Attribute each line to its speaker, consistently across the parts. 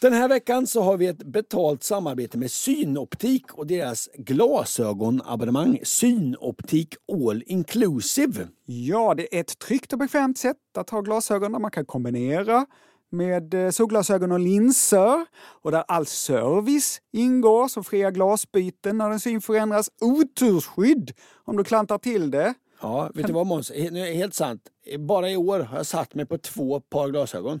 Speaker 1: Den här veckan så har vi ett betalt samarbete med Synoptik och deras glasögonabonnemang Synoptik All Inclusive.
Speaker 2: Ja, det är ett tryggt och bekvämt sätt att ha glasögon där man kan kombinera med eh, solglasögon och linser och där all service ingår som fria glasbyten när din syn förändras, otursskydd om du klantar till det.
Speaker 1: Ja, vet du vad Måns? He- nu är det Helt sant. Eh, Bara i år har jag satt mig på två par glasögon.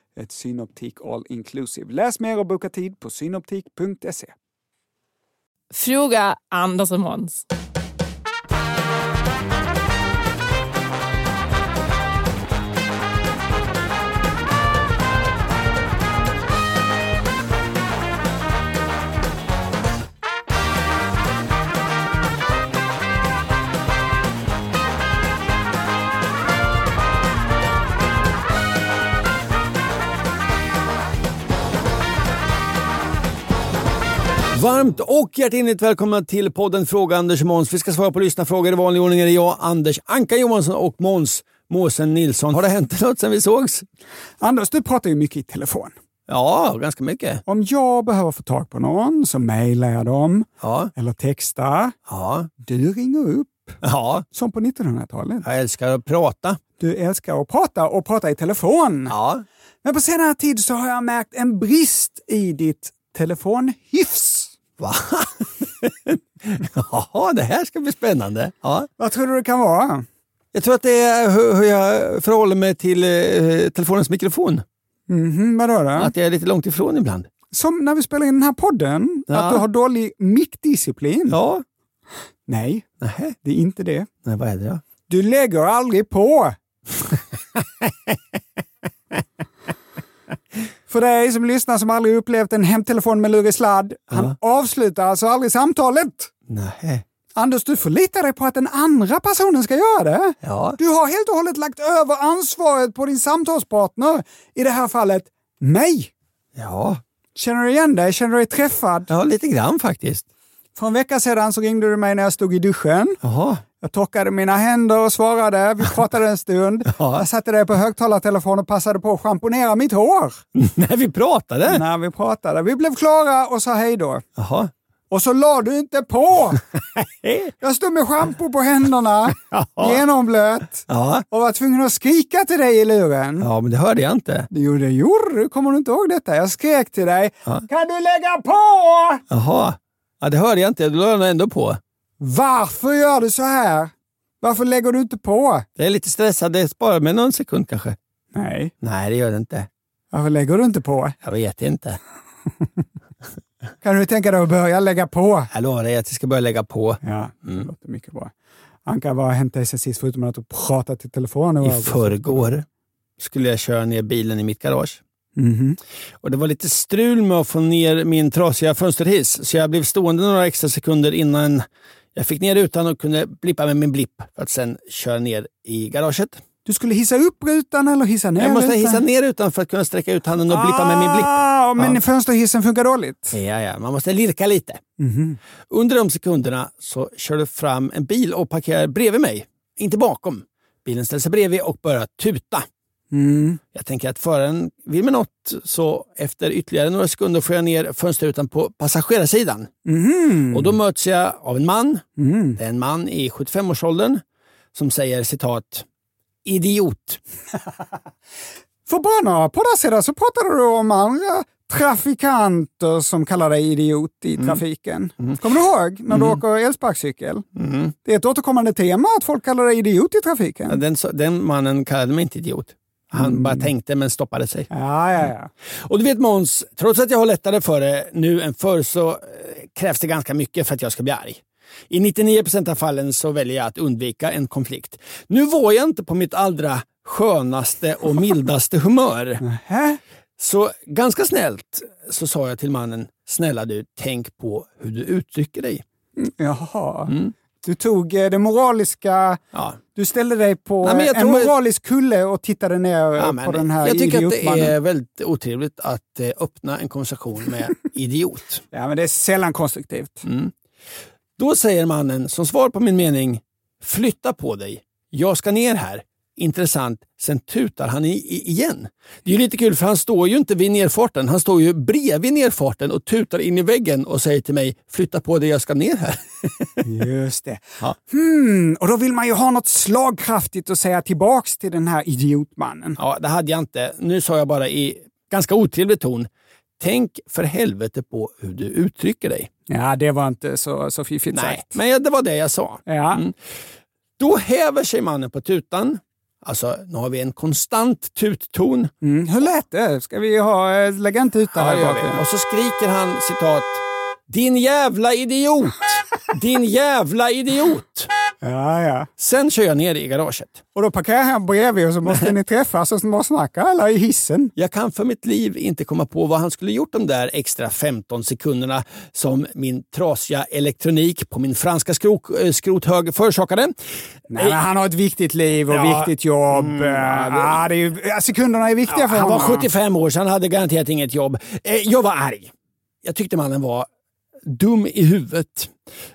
Speaker 2: ett Synoptik All Inclusive. Läs mer och boka tid på synoptik.se.
Speaker 3: Fråga Anders och Måns.
Speaker 1: Varmt och hjärtinligt välkomna till podden Fråga Anders och Måns. Vi ska svara på lyssnarfrågor i vanlig ordning. Det är jag, Anders Anka Johansson och Måns Måsen Nilsson. Har det hänt något sen vi sågs?
Speaker 2: Anders, du pratar ju mycket i telefon.
Speaker 1: Ja, ganska mycket.
Speaker 2: Om jag behöver få tag på någon så mejlar jag dem
Speaker 1: Ja,
Speaker 2: eller textar.
Speaker 1: ja,
Speaker 2: Du ringer upp,
Speaker 1: ja.
Speaker 2: som på 1900-talet.
Speaker 1: Jag älskar att prata.
Speaker 2: Du älskar att prata och prata i telefon.
Speaker 1: Ja.
Speaker 2: Men på senare tid så har jag märkt en brist i ditt telefonhyfs.
Speaker 1: Va? ja, det här ska bli spännande. Ja.
Speaker 2: Vad tror du det kan vara?
Speaker 1: Jag tror att det är hur, hur jag förhåller mig till eh, telefonens mikrofon.
Speaker 2: Mhm, vadå då?
Speaker 1: Att jag är lite långt ifrån ibland.
Speaker 2: Som när vi spelar in den här podden,
Speaker 1: Ja.
Speaker 2: att du har dålig mickdisciplin.
Speaker 1: Ja.
Speaker 2: Nej,
Speaker 1: Nej,
Speaker 2: det är inte det.
Speaker 1: Nej vad är det då?
Speaker 2: Du lägger aldrig på. För dig som lyssnar som aldrig upplevt en hemtelefon med lurig sladd, han avslutar alltså aldrig samtalet.
Speaker 1: Nej.
Speaker 2: Anders, du förlitar dig på att den andra personen ska göra det.
Speaker 1: Ja.
Speaker 2: Du har helt och hållet lagt över ansvaret på din samtalspartner, i det här fallet mig.
Speaker 1: Ja.
Speaker 2: Känner du igen dig? Känner du dig träffad?
Speaker 1: ja, lite grann faktiskt.
Speaker 2: För en vecka sedan så ringde du mig när jag stod i duschen.
Speaker 1: Jaha.
Speaker 2: Jag torkade mina händer och svarade. Vi pratade en stund.
Speaker 1: Ja.
Speaker 2: Jag satte dig på högtalartelefon och passade på att schamponera mitt hår
Speaker 1: När vi pratade?
Speaker 2: när vi pratade. Vi blev klara och sa hej då.
Speaker 1: Äh. Jaha.
Speaker 2: Och så la du inte på! Jag stod med schampo på händerna, genomblöt
Speaker 1: Ja.
Speaker 2: och var tvungen att skrika till dig i luren.
Speaker 1: ja, men det hörde jag inte.
Speaker 2: Jo, det gjorde du. Kommer du inte ihåg detta? Jag skrek till dig. Kan du lägga på?
Speaker 1: Jaha. Ja, det hörde jag inte. Då la jag ändå på.
Speaker 2: Varför gör du så här? Varför lägger du inte på?
Speaker 1: Jag är lite stressad. Det sparar mig någon sekund kanske.
Speaker 2: Nej.
Speaker 1: Nej, det gör det inte.
Speaker 2: Varför lägger du inte på?
Speaker 1: Jag vet inte.
Speaker 2: Kan du tänka dig att börja lägga på?
Speaker 1: Jag lovar dig att jag ska börja lägga på.
Speaker 2: Ja,
Speaker 1: Mm.
Speaker 2: det låter mycket bra. Anka, vad har hänt dig sen sist förutom att du pratat i telefon?
Speaker 1: I förrgår skulle jag köra ner bilen i mitt garage.
Speaker 2: Mhm.
Speaker 1: Och Det var lite strul med att få ner min trasiga fönsterhiss, så jag blev stående några extra sekunder innan jag fick ner rutan och kunde blippa med min blipp för att sen köra ner i garaget.
Speaker 2: Du skulle hissa upp rutan eller hissa ner
Speaker 1: Jag måste
Speaker 2: rutan?
Speaker 1: hissa ner rutan för att kunna sträcka ut handen och blippa med min blipp.
Speaker 2: Ah, men
Speaker 1: Ja.
Speaker 2: fönsterhissen funkar dåligt?
Speaker 1: Ja, ja, man måste lirka lite.
Speaker 2: Mhm.
Speaker 1: Under de sekunderna så körde fram en bil och parkerade bredvid mig. Inte bakom. Bilen ställde sig bredvid och började tuta.
Speaker 2: Mm.
Speaker 1: Jag tänker att föraren vill med något, så efter ytterligare några sekunder får jag ner fönsterrutan på passagerarsidan.
Speaker 2: Mhm.
Speaker 1: Och då möts jag av en man,
Speaker 2: Mm.
Speaker 1: det är en man i 75-årsåldern, som säger citat “idiot”.
Speaker 2: För bara några poddar sedan så pratade du om andra trafikanter som kallar dig idiot i
Speaker 1: Mm.
Speaker 2: trafiken. Kommer du ihåg när du åker elsparkcykel? Det är ett återkommande tema att folk kallar dig idiot i trafiken.
Speaker 1: Mm. Ja, Den, så- den mannen kallade mig inte idiot. Han
Speaker 2: Mm.
Speaker 1: bara tänkte men stoppade sig.
Speaker 2: Ja, ja, ja.
Speaker 1: Och du vet Måns, trots att jag har lättare för det nu än förr så eh, krävs det ganska mycket för att jag ska bli arg. I 99% av fallen så väljer jag att undvika en konflikt. Nu var jag inte på mitt allra skönaste och mildaste humör.
Speaker 2: Hä?
Speaker 1: Så ganska snällt så sa jag till mannen, snälla du, tänk på hur du uttrycker dig.
Speaker 2: Jaha. Du tog eh, det moraliska...
Speaker 1: Mm. Ja.
Speaker 2: Du ställde dig på eh,
Speaker 1: Nej, men jag
Speaker 2: en
Speaker 1: tror-
Speaker 2: moralisk kulle och tittade ner
Speaker 1: Ja,
Speaker 2: på
Speaker 1: men
Speaker 2: den här
Speaker 1: jag tycker att det
Speaker 2: idiotmannen.
Speaker 1: är väldigt otrevligt att eh, öppna en konversation med idiot.
Speaker 2: Ja, men det är sällan konstruktivt.
Speaker 1: Mm. Då säger mannen som svar på min mening, flytta på dig. Jag ska ner här. Intressant. Sen tutar han i, i, igen. Det är ju lite kul för han står ju inte vid nerfarten. Han står ju bredvid nerfarten och tutar in i väggen och säger till mig, flytta på dig, jag ska ner här.
Speaker 2: Just det. Hmm, och då vill man ju ha något slagkraftigt att säga tillbaks till den här idiotmannen.
Speaker 1: Ja, det hade jag inte. Nu sa jag bara i ganska otrevlig ton, tänk för helvete på hur du uttrycker dig.
Speaker 2: Ja, det var inte så, så fiffigt
Speaker 1: Nej, Mm.
Speaker 2: sagt.
Speaker 1: men jag- det var det jag sa.
Speaker 2: Ja.
Speaker 1: Då häver sig mannen på tutan. Alltså, nu har vi en konstant tutton.
Speaker 2: Mm, hur lät det? Ska vi ha, eh, lägga inte ut det här i bakgrunden?
Speaker 1: Och så skriker han citat “Din jävla idiot! Din jävla idiot!”
Speaker 2: Ja, ja.
Speaker 1: Sen kör jag ner i garaget.
Speaker 2: Och då parkerar han bredvid och så måste ni träffas och småsnacka eller i hissen.
Speaker 1: Jag kan för mitt liv inte komma på vad han skulle gjort de där extra 15 sekunderna som min trasiga elektronik på min franska skrok, eh, skrothög förorsakade.
Speaker 2: Nej, men han har ett viktigt liv och
Speaker 1: Ja.
Speaker 2: viktigt jobb. ja, det är ju, ja, sekunderna är viktiga för
Speaker 1: Han var
Speaker 2: honom.
Speaker 1: 75 år så han hade garanterat inget jobb. Eh, Jag var arg. Jag tyckte mannen var dum i huvudet.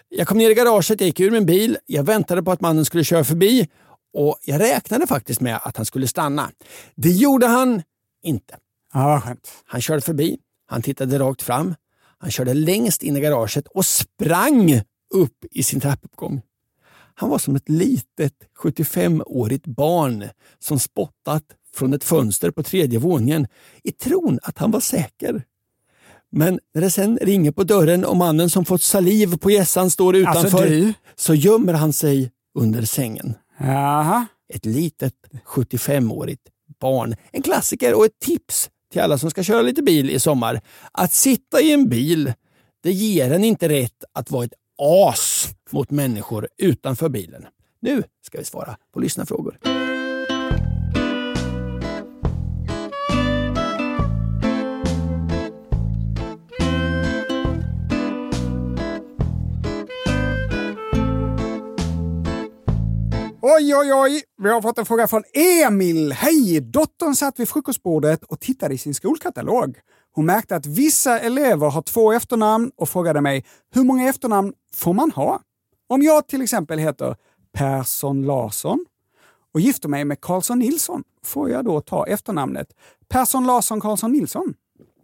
Speaker 1: Jag kom ner i garaget, jag gick ur min bil, jag väntade på att mannen skulle köra förbi och jag räknade faktiskt med att han skulle stanna. Det gjorde han inte.
Speaker 2: Ja, vad skönt.
Speaker 1: Han körde förbi, han tittade rakt fram, han körde längst in i garaget och sprang upp i sin trappuppgång. Han var som ett litet 75-årigt barn som spottat från ett fönster på tredje våningen i tron att han var säker. Men när det sen ringer på dörren och mannen som fått saliv på hjässan står
Speaker 2: Alltså,
Speaker 1: utanför
Speaker 2: du?
Speaker 1: så gömmer han sig under sängen
Speaker 2: Jaha.
Speaker 1: ett litet 75-årigt barn. En klassiker och ett tips till alla som ska köra lite bil i sommar. Att sitta i en bil, det ger en inte rätt att vara ett as mot människor utanför bilen. Nu ska vi svara på lyssnarfrågor.
Speaker 2: Oj, oj, oj! Vi har fått en fråga från Emil. Hej! Dottern satt vid frukostbordet och tittade i sin skolkatalog. Hon märkte att vissa elever har två efternamn och frågade mig hur många efternamn får man ha? Om jag till exempel heter Persson Larsson och gifter mig med Karlsson Nilsson, får jag då ta efternamnet Persson Larsson Karlsson Nilsson?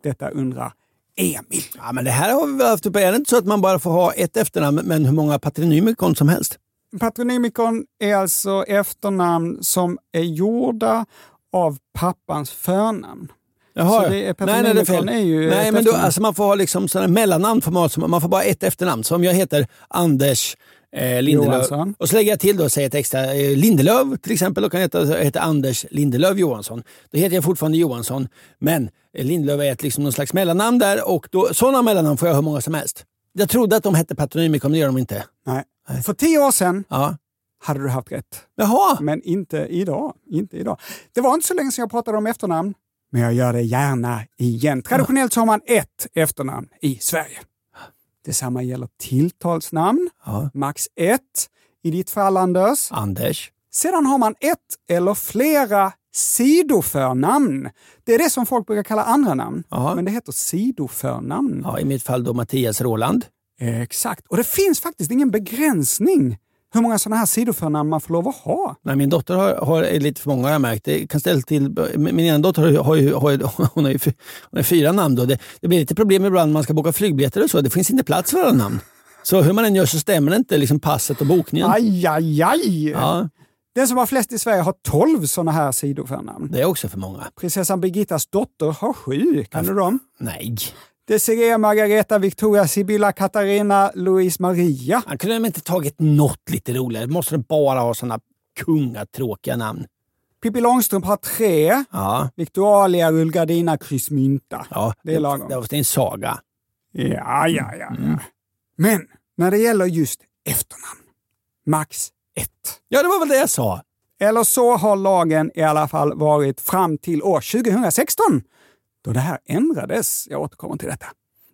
Speaker 2: Detta undrar Emil.
Speaker 1: Ja, men det här har vi väl haft uppe. Är det inte så att man bara får ha ett efternamn, men hur många patronymikon som helst?
Speaker 2: Patronymikon är alltså efternamn som är gjorda av pappans förnamn.
Speaker 1: Jaha,
Speaker 2: Så det är patronymikon är ju eh,
Speaker 1: Nej, men
Speaker 2: ett
Speaker 1: då,
Speaker 2: efternamn.
Speaker 1: alltså man får ha liksom sådana mellannamn, för mat, som- man får bara ett efternamn. Så om jag heter Anders eh, Lindelöf
Speaker 2: Johansson.
Speaker 1: och så lägger jag till då och säger ett extra eh, Lindelöf till exempel, då kan jag heta, heta Anders Lindelöf Johansson. Då heter jag fortfarande Johansson, men eh, Lindelöf är ett, liksom någon slags mellannamn där och då, sådana mellannamn får jag hur många som helst. Jag trodde att de hette patronymikon, men det gör de inte.
Speaker 2: Nej. För tio år sedan
Speaker 1: Ja.
Speaker 2: hade du haft rätt,
Speaker 1: Jaha,
Speaker 2: men inte idag. inte idag. Det var inte så länge sedan jag pratade om efternamn, men jag gör det gärna igen. Traditionellt så har man ett efternamn i Sverige. Detsamma gäller tilltalsnamn,
Speaker 1: Ja.
Speaker 2: max ett. I ditt fall, Anders,
Speaker 1: Anders.
Speaker 2: Sedan har man ett eller flera sidoförnamn. Det är det som folk brukar kalla andra namn,
Speaker 1: Ja.
Speaker 2: men det heter sidoförnamn.
Speaker 1: Ja, I mitt fall då Mattias Roland.
Speaker 2: Exakt, och det finns faktiskt ingen begränsning hur många sådana här sidoförnamn man får lov att ha.
Speaker 1: Nej, min dotter har, har är lite för många har jag märkt. Det kan ställa till, min ena dotter har, ju- har, ju- har, ju- hon har, ju, fy- hon har ju fyra namn. Då. Det, det blir lite problem ibland när man ska boka flygbiljetter och så. Det finns inte plats för alla namn. Så hur man än gör så stämmer det inte, liksom passet och bokningen.
Speaker 2: Aj, aj, aj!
Speaker 1: Ja.
Speaker 2: Den som har flest i Sverige har 12 sådana här sidoförnamn.
Speaker 1: Det är också för många.
Speaker 2: Prinsessan Birgittas dotter har sju. Kan du dem?
Speaker 1: Nej.
Speaker 2: Desirée, Margareta, Victoria, Sibylla, Katarina, Louise, Maria.
Speaker 1: Han kunde de inte tagit något lite roligare? Måste de bara ha såna kungatråkiga namn?
Speaker 2: Pippi Långstrump har tre.
Speaker 1: Ja.
Speaker 2: Victoria, Rullgardina, Kryssmynta.
Speaker 1: ja.
Speaker 2: Det är lagom.
Speaker 1: Det, det är en saga.
Speaker 2: Ja, ja, ja.
Speaker 1: Mm.
Speaker 2: Men när det gäller just efternamn, max ett.
Speaker 1: Ja, det var väl det jag sa.
Speaker 2: Eller så har lagen i alla fall varit fram till år 2016, då det här ändrades. Jag återkommer till detta.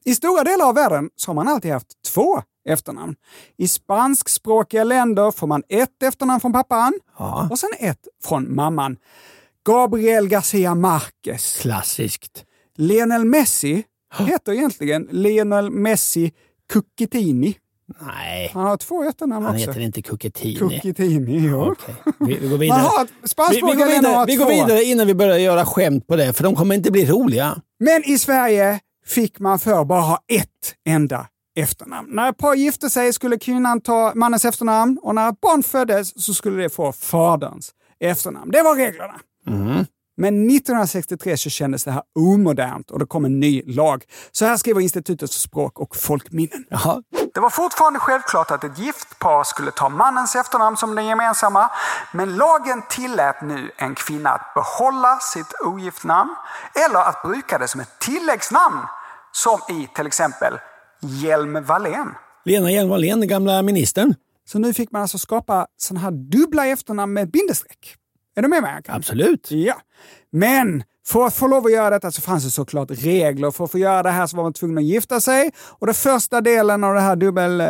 Speaker 2: I stora delar av världen så har man alltid haft två efternamn. I spanskspråkiga länder får man ett efternamn från pappan
Speaker 1: Ja.
Speaker 2: och sen ett från mamman. Gabriel Garcia Marquez.
Speaker 1: Klassiskt.
Speaker 2: Lionel Messi heter egentligen Lionel Messi Cucchettini.
Speaker 1: Nej,
Speaker 2: Han har två efternamn
Speaker 1: han
Speaker 2: också.
Speaker 1: heter inte Cucchettini. Ah,
Speaker 2: Cucchettini, ja.
Speaker 1: Okej. Vi, vi går
Speaker 2: Man
Speaker 1: vidare.
Speaker 2: har ett
Speaker 1: Vi, vi,
Speaker 2: spanskspråkiga
Speaker 1: går
Speaker 2: länder
Speaker 1: vidare.
Speaker 2: har
Speaker 1: vi går
Speaker 2: två.
Speaker 1: vidare innan vi börjar göra skämt på det, för de kommer inte bli roliga.
Speaker 2: Men i Sverige fick man förr bara ha ett enda efternamn. När ett par gifte sig skulle kvinnan ta mannens efternamn och när ett barn föddes så skulle det få faderns efternamn. Det var reglerna.
Speaker 1: Mm.
Speaker 2: Men 1963 så kändes det här omodernt och det kom en ny lag. Så här skriver Institutet för språk och folkminnen.
Speaker 1: Jaha.
Speaker 2: Det var fortfarande självklart att ett gift par skulle ta mannens efternamn som den gemensamma, men lagen tillät nu en kvinna att behålla sitt ogift namn eller att bruka det som ett tilläggsnamn, som i till exempel Hjelm Wallén.
Speaker 1: Lena Hjelm-Wallén, den gamla ministern.
Speaker 2: Så nu fick man alltså skapa sådana här dubbla efternamn med bindestreck. Är du med mig? Ankan?
Speaker 1: Absolut.
Speaker 2: Ja. Men för att få lov att göra detta så fanns det såklart regler. För att få göra det här så var man tvungen att gifta sig. Och den första delen av det här dubbel eh,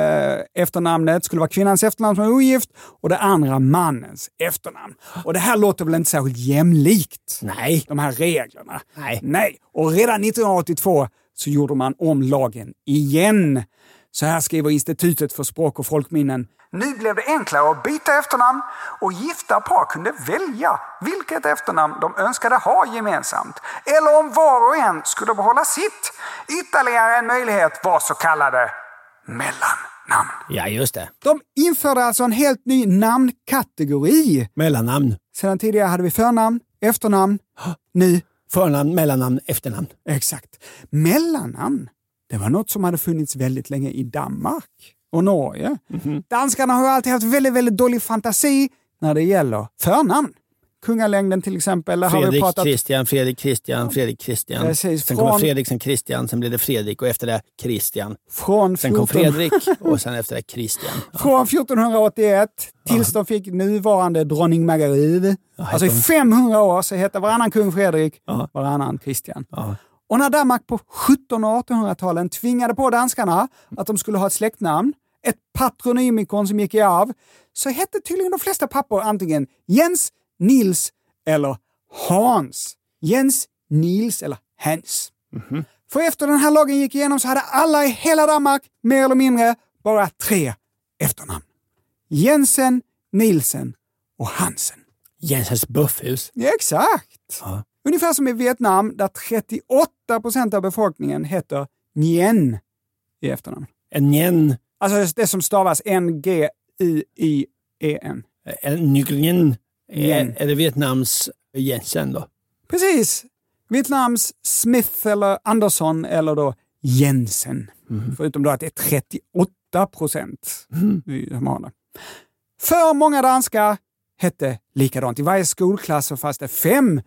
Speaker 2: efternamnet skulle vara kvinnans efternamn som är ogift och det andra mannens efternamn. Och det här låter väl inte särskilt jämlikt?
Speaker 1: Nej.
Speaker 2: De här reglerna.
Speaker 1: Nej.
Speaker 2: Nej. Och redan 1982 så gjorde man om lagen igen. Så här skriver Institutet för språk och folkminnen. Nu blev det enklare att byta efternamn och gifta par kunde välja vilket efternamn de önskade ha gemensamt. Eller om var och en skulle behålla sitt. Ytterligare en möjlighet var så kallade mellannamn.
Speaker 1: Ja, just det.
Speaker 2: De införde alltså en helt ny namnkategori.
Speaker 1: Mellannamn.
Speaker 2: Sedan tidigare hade vi förnamn, efternamn, nu
Speaker 1: Förnamn, mellannamn, efternamn.
Speaker 2: Exakt. Mellannamn, det var något som hade funnits väldigt länge i Danmark och Norge.
Speaker 1: Mhm.
Speaker 2: Danskarna har ju alltid haft väldigt, väldigt dålig fantasi när det gäller förnamn. Kungalängden till exempel, där har vi
Speaker 1: Fredrik,
Speaker 2: pratat...
Speaker 1: Christian, Fredrik, Christian, Fredrik, Christian.
Speaker 2: Precis,
Speaker 1: Sen kommer
Speaker 2: från-
Speaker 1: Fredrik, sen Christian, sen blir det Fredrik och efter det Christian.
Speaker 2: Från,
Speaker 1: Sen kom
Speaker 2: 14
Speaker 1: Fredrik och sen efter det Christian.
Speaker 2: från 1481 tills de fick nuvarande drottning Margarida. Alltså i
Speaker 1: hon-
Speaker 2: 500 år så hette varannan kung Fredrik,
Speaker 1: Ja.
Speaker 2: varannan Kristian.
Speaker 1: Ja.
Speaker 2: Och när Danmark på 1700 och 1800-talen tvingade på danskarna att de skulle ha ett släktnamn, ett patronymikon som gick i arv, så hette tydligen de flesta pappor antingen Jens, Nils eller Hans. Jens, Nils eller Hans.
Speaker 1: Mhm.
Speaker 2: För efter den här lagen gick igenom så hade alla i hela Danmark, mer eller mindre, bara tre efternamn. Jensen, Nielsen och Hansen.
Speaker 1: Jensens buffhus.
Speaker 2: Ja, exakt!
Speaker 1: Ja.
Speaker 2: Ungefär som i Vietnam där 38 procent av befolkningen heter Nguyen i efternamn.
Speaker 1: En njen.
Speaker 2: Alltså det som stavas N-G-I-I-E-N.
Speaker 1: En nyckeln.
Speaker 2: Njen.
Speaker 1: Är, är det Vietnams Jensen då?
Speaker 2: Precis! Vietnams Smith eller Andersson eller då Jensen.
Speaker 1: Mm.
Speaker 2: Förutom då att det är 38 procent som har det. För många danskar hette likadant. I varje skolklass så fanns det fem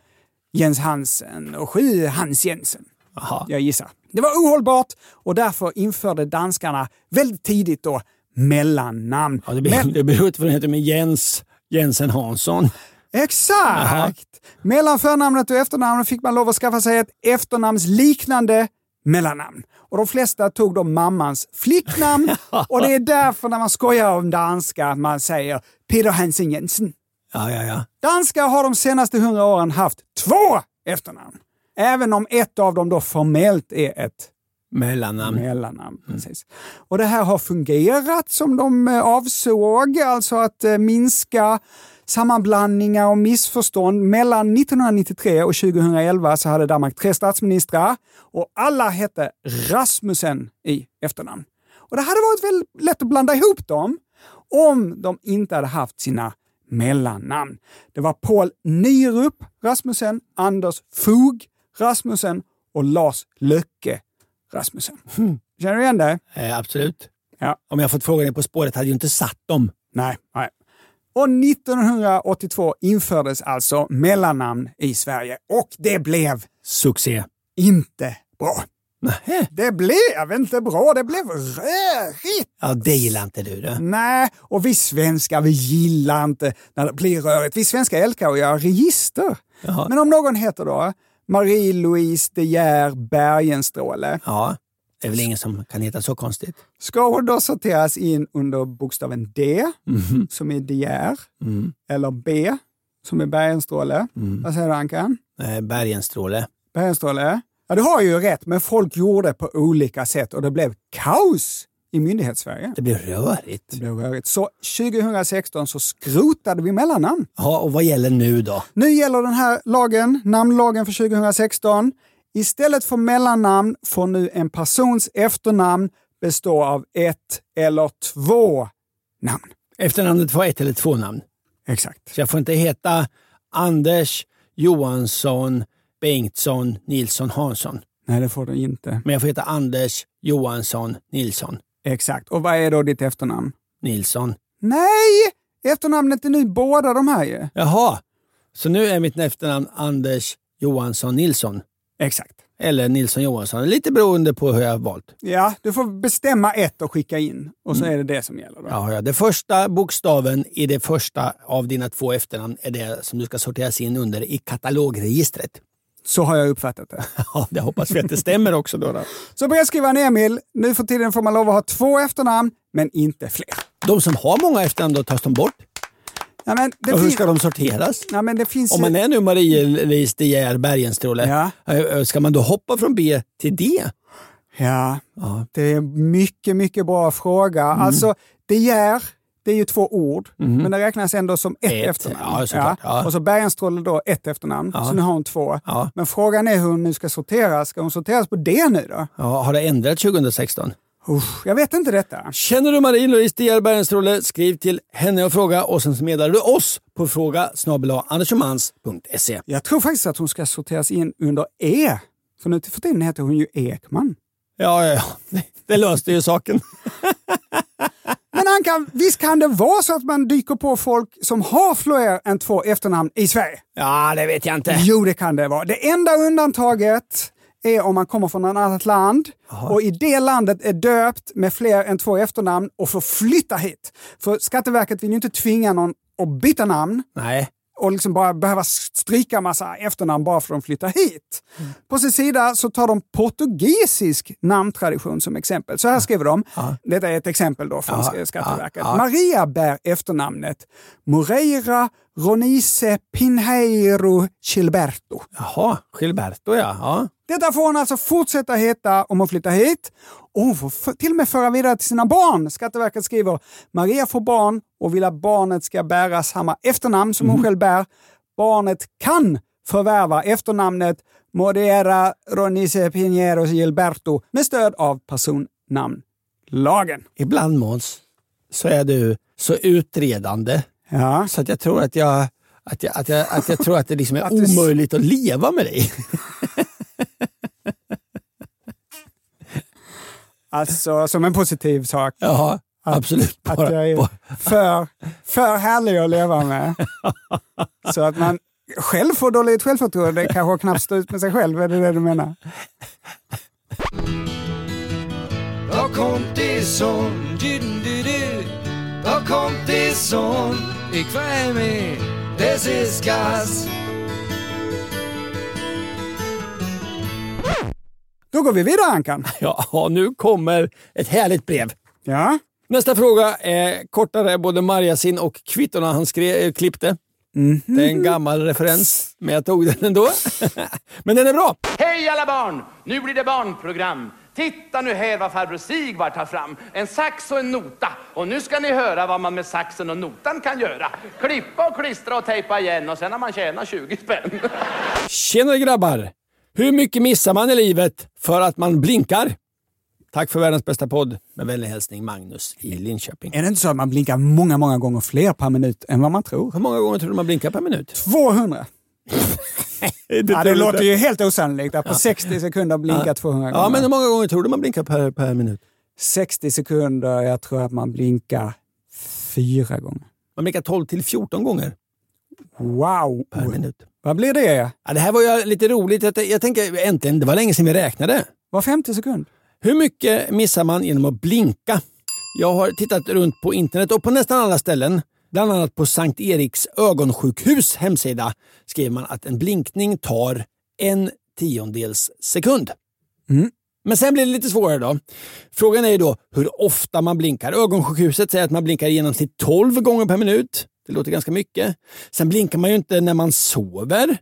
Speaker 2: Jens Hansen och sju Hans Jensen.
Speaker 1: Aha.
Speaker 2: Jag gissar. Det var ohållbart och därför införde danskarna väldigt tidigt då mellannamn.
Speaker 1: Ja, det beror,
Speaker 2: Men-
Speaker 1: det beror på vad den heter, men Jens, Jensen Hansson.
Speaker 2: Exakt!
Speaker 1: Jaha.
Speaker 2: Mellan förnamnet och efternamnet fick man lov att skaffa sig ett efternamnsliknande mellannamn. Och de flesta tog då mammans flicknamn och det är därför när man skojar om danska man säger Peter Hansen Jensen.
Speaker 1: Ja, ja, ja.
Speaker 2: Danskar har de senaste hundra åren haft två efternamn. Även om ett av dem då formellt är ett
Speaker 1: Mellannamn.
Speaker 2: mellannamn. Precis. Och det här har fungerat som de eh, avsåg, alltså att eh, minska sammanblandningar och missförstånd. Mellan 1993 och 2011 så hade Danmark tre statsministrar och alla hette Rasmussen i efternamn. Och det hade varit väldigt lätt att blanda ihop dem om de inte hade haft sina mellannamn. Det var Paul Nyrup Rasmussen, Anders Fogh Rasmussen och Lars Löcke Rasmussen. Hmm. Känner du igen det?
Speaker 1: Eh, absolut.
Speaker 2: Ja.
Speaker 1: Om jag fått frågan På spåret hade jag ju inte satt dem.
Speaker 2: Nej, nej. Och 1982 infördes alltså mellannamn i Sverige och det blev
Speaker 1: Succé.
Speaker 2: inte bra.
Speaker 1: Nähä.
Speaker 2: Det blev inte bra, det blev rörigt.
Speaker 1: Ja, det gillar inte du. du.
Speaker 2: Nej, och vi svenskar vi gillar inte när det blir rörigt. Vi svenskar älskar att göra register.
Speaker 1: Jaha.
Speaker 2: Men om någon heter då Marie-Louise De Geer Bergenstråle,
Speaker 1: Ja, det är väl ingen som kan heta så konstigt.
Speaker 2: ska hon då sorteras in under bokstaven D, som är De Geer, eller B, som är Bergenstråle. Vad säger du Ankan?
Speaker 1: Eh, Bergenstråle.
Speaker 2: Bergenstråle? Ja, du har ju rätt, men folk gjorde på olika sätt och det blev kaos i myndighetssverige.
Speaker 1: Det blir rörigt.
Speaker 2: Det blev rörigt. Så 2016 så skrotade vi mellannamn.
Speaker 1: Ja, och vad gäller nu då?
Speaker 2: Nu gäller den här lagen, namnlagen för 2016. Istället för mellannamn får nu en persons efternamn bestå av ett eller två namn.
Speaker 1: Efternamnet får ett eller två namn.
Speaker 2: Exakt.
Speaker 1: Så jag får inte heta Anders, Johansson, Bengtsson, Nilsson, Hansson.
Speaker 2: Nej, det får du inte.
Speaker 1: Men jag får heta Anders, Johansson, Nilsson,
Speaker 2: Exakt. Och vad är då ditt efternamn?
Speaker 1: Nilsson.
Speaker 2: Nej! Efternamnet är nu båda de här ju.
Speaker 1: Jaha, så nu är mitt efternamn Anders Johansson Nilsson.
Speaker 2: Exakt.
Speaker 1: Eller Nilsson Johansson, lite beroende på hur jag har valt.
Speaker 2: Ja, du får bestämma ett och skicka in. Och
Speaker 1: Mm.
Speaker 2: så är det det som gäller. Då.
Speaker 1: Ja, ja. Den första bokstaven i det första av dina två efternamn är det som du ska sorteras in under i katalogregistret.
Speaker 2: Så har jag uppfattat det.
Speaker 1: Ja, det hoppas vi att det stämmer också. Då, då.
Speaker 2: Så brevskrivaren Emil, nu för tiden får man lov att ha två efternamn, men inte fler.
Speaker 1: De som har många efternamn, då tas de bort.
Speaker 2: Ja, men det
Speaker 1: Och hur
Speaker 2: fin-
Speaker 1: ska de sorteras?
Speaker 2: Ja, men det finns
Speaker 1: Om
Speaker 2: ju-
Speaker 1: man är nu Marie-Louise De Geer Bergenstråle,
Speaker 2: Ja.
Speaker 1: eh, ska man då hoppa från B till D?
Speaker 2: Ja, det är mycket, mycket bra fråga.
Speaker 1: Mm.
Speaker 2: Alltså, det gör, det är ju två ord, men det räknas ändå som ett,
Speaker 1: Ett,
Speaker 2: efternamn.
Speaker 1: ja, såklart, ja.
Speaker 2: Och så Bergenstråle då, ett efternamn, så nu har hon två.
Speaker 1: Ja.
Speaker 2: Men frågan är hur hon nu ska sorteras. Ska hon sorteras på det nu då?
Speaker 1: Ja, har det ändrats 2016?
Speaker 2: Usch, jag vet inte detta.
Speaker 1: Känner du Marie-Louise De Geer Bergenstråle, skriv till henne och fråga och sen så meddelar du oss på fråga snabel-a andersomans.se.
Speaker 2: Jag tror faktiskt att hon ska sorteras in under E. För nu till för tiden heter hon ju Ekman.
Speaker 1: Ja, ja, ja. Det- Det löste ju saken.
Speaker 2: Men Ankan, visst kan det vara så att man dyker på folk som har fler än två efternamn i Sverige?
Speaker 1: Ja, det vet jag inte.
Speaker 2: Jo, det kan det vara. Det enda undantaget är om man kommer från ett annat land och i det landet är döpt med fler än två efternamn och får flytta hit. För Skatteverket vill ju inte tvinga någon att byta namn
Speaker 1: Nej.
Speaker 2: och liksom bara behöva stryka massa efternamn bara för att de flyttar hit.
Speaker 1: Mm.
Speaker 2: På sin sida så tar de portugisisk namntradition som exempel. Så här skriver de, detta är ett exempel då från
Speaker 1: Ja,
Speaker 2: Skatteverket.
Speaker 1: ja, ja.
Speaker 2: Maria bär efternamnet Moreira Ronice Pinheiro Gilberto.
Speaker 1: Jaha, Gilberto ja. ja.
Speaker 2: Detta får hon alltså fortsätta heta om hon flyttar hit. Och hon får f- till och med föra vidare till sina barn. Skatteverket skriver Maria får barn och vill att barnet ska bära samma efternamn som
Speaker 1: Mhm.
Speaker 2: hon själv bär. Barnet kan förvärva efternamnet Modera Ronice Pinheiro Gilberto med stöd av personnamnlagen.
Speaker 1: Ibland Måns, så är du så utredande
Speaker 2: Ja.
Speaker 1: så att jag tror att jag att jag, att jag, att jag tror att det liksom är
Speaker 2: du s-
Speaker 1: omöjligt att leva med dig.
Speaker 2: Alltså som en positiv sak.
Speaker 1: Ja, absolut.
Speaker 2: Att
Speaker 1: Bara-
Speaker 2: jag är
Speaker 1: bara-
Speaker 2: för, för härlig att leva med. Så att man själv får dåligt självförtroende, kanske knappt stå ut med sig själv. Är det det du menar? Då går vi vidare Ankan.
Speaker 1: Ja, nu kommer ett härligt brev.
Speaker 2: Ja.
Speaker 1: Nästa fråga är kortare, både Marjasin och kvittona han skrev, eh, klippte. Det är en gammal referens, men jag tog den ändå. men den är bra.
Speaker 3: Hej alla barn! Nu blir det barnprogram. Titta nu här vad farbror Sigvard tar fram. En sax och en nota. Och nu ska ni höra vad man med saxen och notan kan göra. Klippa och klistra och tejpa igen och sen har man tjänat 20 spänn.
Speaker 1: Tjenare grabbar! Hur mycket missar man i livet för att man blinkar? Tack för världens bästa podd. Med vänlig hälsning Magnus i Linköping.
Speaker 2: Är det inte så att man blinkar många, många gånger fler per minut än vad man tror?
Speaker 1: Hur många gånger tror du man blinkar per minut?
Speaker 2: 200! Ja, det låter ju helt osannolikt att på 60 sekunder blinka 200 gånger.
Speaker 1: Ja, men hur många gånger tror du man blinkar per, per minut?
Speaker 2: 60 sekunder, jag tror att man blinkar fyra gånger.
Speaker 1: Man blinkar 12 till 14 gånger
Speaker 2: Wow!
Speaker 1: per minut.
Speaker 2: Vad blir det?
Speaker 1: Ja, det här var ju lite roligt. Jag, jag tänker äntligen, det var länge sedan vi räknade.
Speaker 2: Var 50 sekund?
Speaker 1: Hur mycket missar man genom att blinka? Jag har tittat runt på internet och på nästan alla ställen, bland annat på Sankt Eriks ögonsjukhus hemsida, skriver man att en blinkning tar en tiondels sekund.
Speaker 2: Mm.
Speaker 1: Men sen blir det lite svårare då. Frågan är ju då hur ofta man blinkar. Ögonsjukhuset säger att man blinkar i genomsnitt 12 gånger per minut. Det låter ganska mycket. Sen blinkar man ju inte när man sover.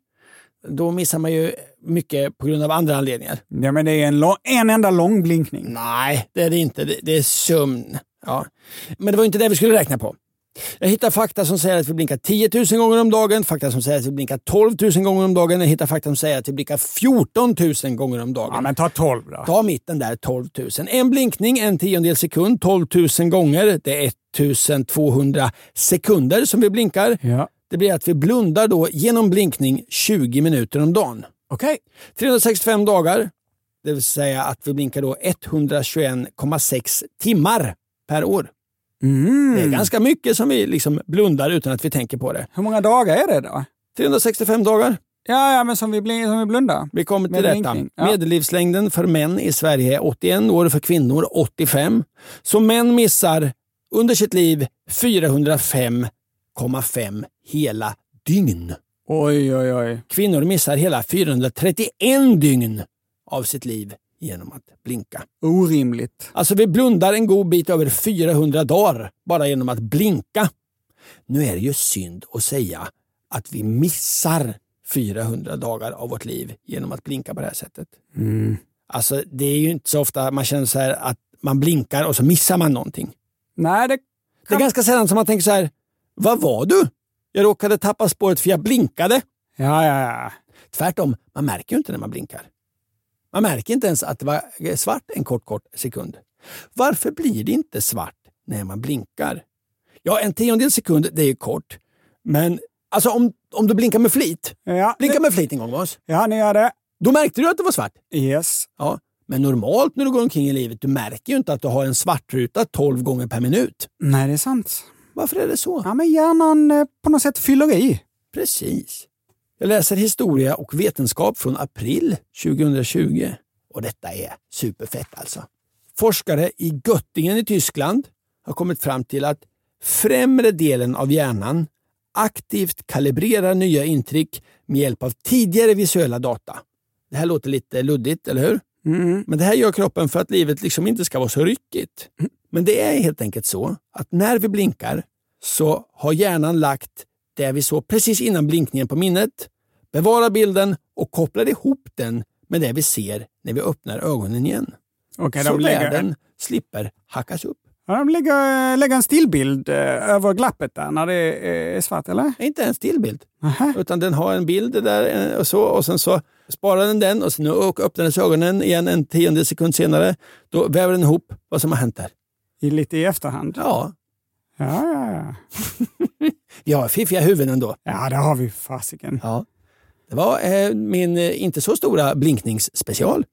Speaker 1: Då missar man ju mycket på grund av andra anledningar.
Speaker 2: Ja, men det är en, lång, en enda lång blinkning.
Speaker 1: Nej, det är det inte. Det, det är sömn. Ja. Men det var ju inte det vi skulle räkna på. Jag hittar fakta som säger att vi blinkar 10 000 gånger om dagen, fakta som säger att vi blinkar 12 000 gånger om dagen. Jag hittar fakta som säger att vi blinkar 14 000 gånger om dagen.
Speaker 2: Ja, men ta 12 då.
Speaker 1: Ta mitten där, 12 000. En blinkning, en tiondel sekund, 12 000 gånger. Det är 1200 sekunder som vi blinkar.
Speaker 2: Ja.
Speaker 1: Det blir att vi blundar då genom blinkning 20 minuter om dagen.
Speaker 2: Okej.
Speaker 1: 365 dagar, det vill säga att vi blinkar då 121,6 timmar per år.
Speaker 2: Mm.
Speaker 1: Det är ganska mycket som vi liksom blundar utan att vi tänker på det.
Speaker 2: Hur många dagar är det då?
Speaker 1: 365 dagar.
Speaker 2: Ja, ja men som vi, blin- som vi blundar.
Speaker 1: Vi kommer till
Speaker 2: Med
Speaker 1: detta.
Speaker 2: blinkning, ja.
Speaker 1: Medellivslängden för män i Sverige är 81 år, för kvinnor 85. Så män missar under sitt liv 405,5 hela dygn.
Speaker 2: Oj, oj, oj.
Speaker 1: Kvinnor missar hela 431 dygn av sitt liv genom att blinka.
Speaker 2: Orimligt.
Speaker 1: Alltså vi blundar en god bit över 400 dagar bara genom att blinka. Nu är det ju synd att säga att vi missar 400 dagar av vårt liv genom att blinka på det här sättet. Alltså det är ju inte så ofta man känner så här att man blinkar och så missar man någonting.
Speaker 2: Nej, det...
Speaker 1: Det är ganska sällan som man tänker så här, vad var du? Jag råkade tappa spåret för jag blinkade.
Speaker 2: Ja, ja, ja.
Speaker 1: Tvärtom, man märker ju inte när man blinkar. Man märker inte ens att det var eh, svart en kort, kort sekund. Varför blir det inte svart när man blinkar? Ja, en tiondel sekund, det är ju kort. Men alltså om, om du blinkar med flit,
Speaker 2: Ja,
Speaker 1: blinka med flit en gång Måns,
Speaker 2: ja ni gör det.
Speaker 1: då märkte du att det var svart.
Speaker 2: Yes.
Speaker 1: Ja, men normalt när du går omkring i livet, du märker ju inte att du har en svartruta 12 gånger per minut.
Speaker 2: Nej, det är sant.
Speaker 1: Varför är det så?
Speaker 2: Ja, men hjärnan eh, på något sätt fyller i.
Speaker 1: Precis. Jag läser historia och vetenskap från april 2020. Och detta är superfett alltså. Forskare i Göttingen i Tyskland har kommit fram till att främre delen av hjärnan aktivt kalibrerar nya intryck med hjälp av tidigare visuella data. Det här låter lite luddigt, eller hur? Men det här gör kroppen för att livet liksom inte ska vara så ryckigt. Men det är helt enkelt så att när vi blinkar så har hjärnan lagt det vi såg precis innan blinkningen på minnet, bevarar bilden och kopplar ihop den med det vi ser när vi öppnar ögonen igen.
Speaker 2: Okej,
Speaker 1: så
Speaker 2: de lägger,
Speaker 1: världen slipper hackas upp.
Speaker 2: ja, de lägger, lägger en stillbild eh, över glappet där när det är är svart, eller?
Speaker 1: Inte en stillbild,
Speaker 2: Aha.
Speaker 1: utan den har en bild där eh, och så och sen så sparar den den och sen ö- öppnas ögonen igen en tionde sekund senare. Då väver den ihop vad som har hänt där.
Speaker 2: I, lite i efterhand.
Speaker 1: Ja,
Speaker 2: Ja, ja, ja.
Speaker 1: vi har fiffiga huvuden ändå.
Speaker 2: Ja, det har vi fasiken.
Speaker 1: Ja. Det var eh, min eh, inte så stora blinkningsspecial.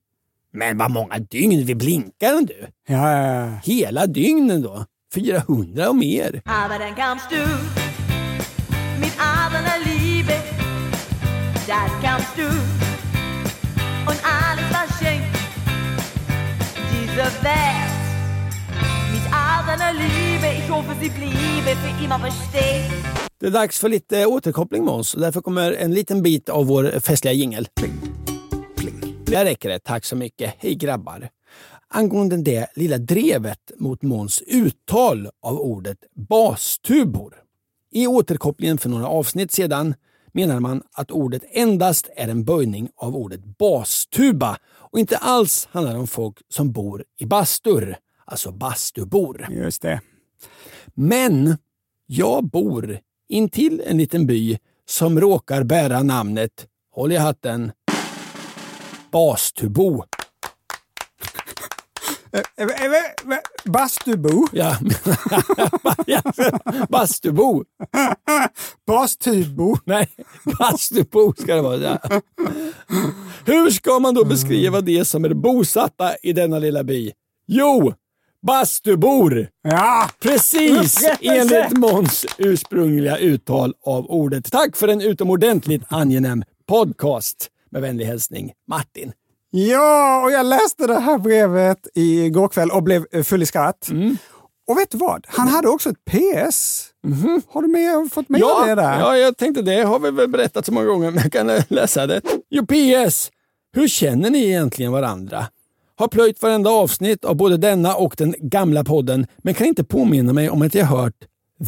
Speaker 1: Men vad många dygn vi blinkar du.
Speaker 2: Ja, ja, ja.
Speaker 1: hela dygnen då. 400 och mer.
Speaker 4: Aber dann kamst du mit einer Liebe. Dann kamst du und alles war schenkt. Diese Welt mit einer Liebe. Ich hoffe, sie bliebe für immer bestehen.
Speaker 1: Det är dags för lite återkoppling Måns och därför kommer en liten bit av vår festliga jingel. Där räcker det. Tack så mycket. Hej grabbar. Angående det lilla drevet mot Måns uttal av ordet bastubor. I återkopplingen för några avsnitt sedan menar man att ordet endast är en böjning av ordet bastuba och inte alls handlar om folk som bor i bastur, alltså bastubor.
Speaker 2: Just det.
Speaker 1: Men jag bor intill en liten by som råkar bära namnet, håll i hatten, Bastubo.
Speaker 2: Eh, eh, eh, Bastubo.
Speaker 1: Ja. Bastubo.
Speaker 2: Bastubo.
Speaker 1: Nej, bastubo ska det vara. Ja. Hur ska man då beskriva det som är bosatta i denna lilla by? Jo, bastubor.
Speaker 2: Ja!
Speaker 1: Precis
Speaker 2: Upprättelse!
Speaker 1: enligt Måns ursprungliga uttal av ordet. Tack för en utomordentligt angenäm podcast. Med vänlig hälsning, Martin.
Speaker 2: Ja, och jag läste det här brevet igår kväll och blev eh, full i skratt.
Speaker 1: Mm.
Speaker 2: Och vet du vad? Han hade också ett PS. Har du med, fått med det där?
Speaker 1: Mhm. ja, jag tänkte det har vi väl berättat så många gånger, men jag kan eh, läsa det. Jo, PS. Hur känner ni egentligen varandra? Har plöjt varenda avsnitt av både denna och den gamla podden, men kan inte påminna mig om att jag hört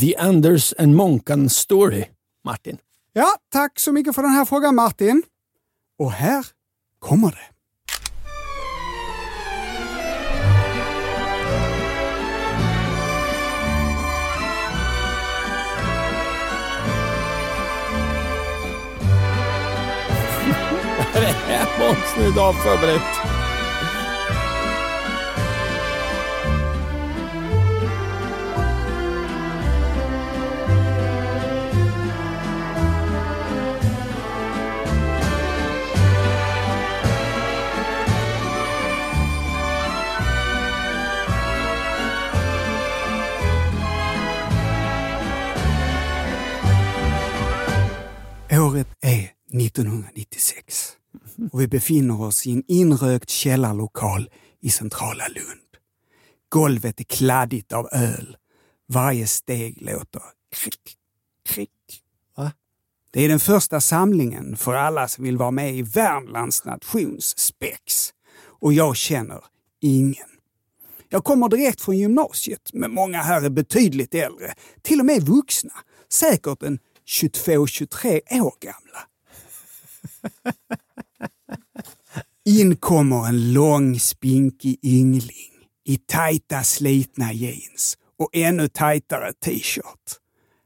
Speaker 1: The Anders and Monkan Story. Martin.
Speaker 2: Ja, tack så mycket för den här frågan Martin. Och här kommer det.
Speaker 1: Måns nu idag förberett.
Speaker 2: Året är 1996 och vi befinner oss i en inrökt källarlokal i centrala Lund. Golvet är kladdigt av öl. Varje steg låter krick, krick.
Speaker 1: Va?
Speaker 2: Det är den första samlingen för alla som vill vara med i Värmlands nations spex. Och jag känner ingen. Jag kommer direkt från gymnasiet, men många här är betydligt äldre. Till och med vuxna. Säkert en 22-23 år gamla. In kommer en lång spinkig yngling i tajta slitna jeans och ännu tajtare t-shirt.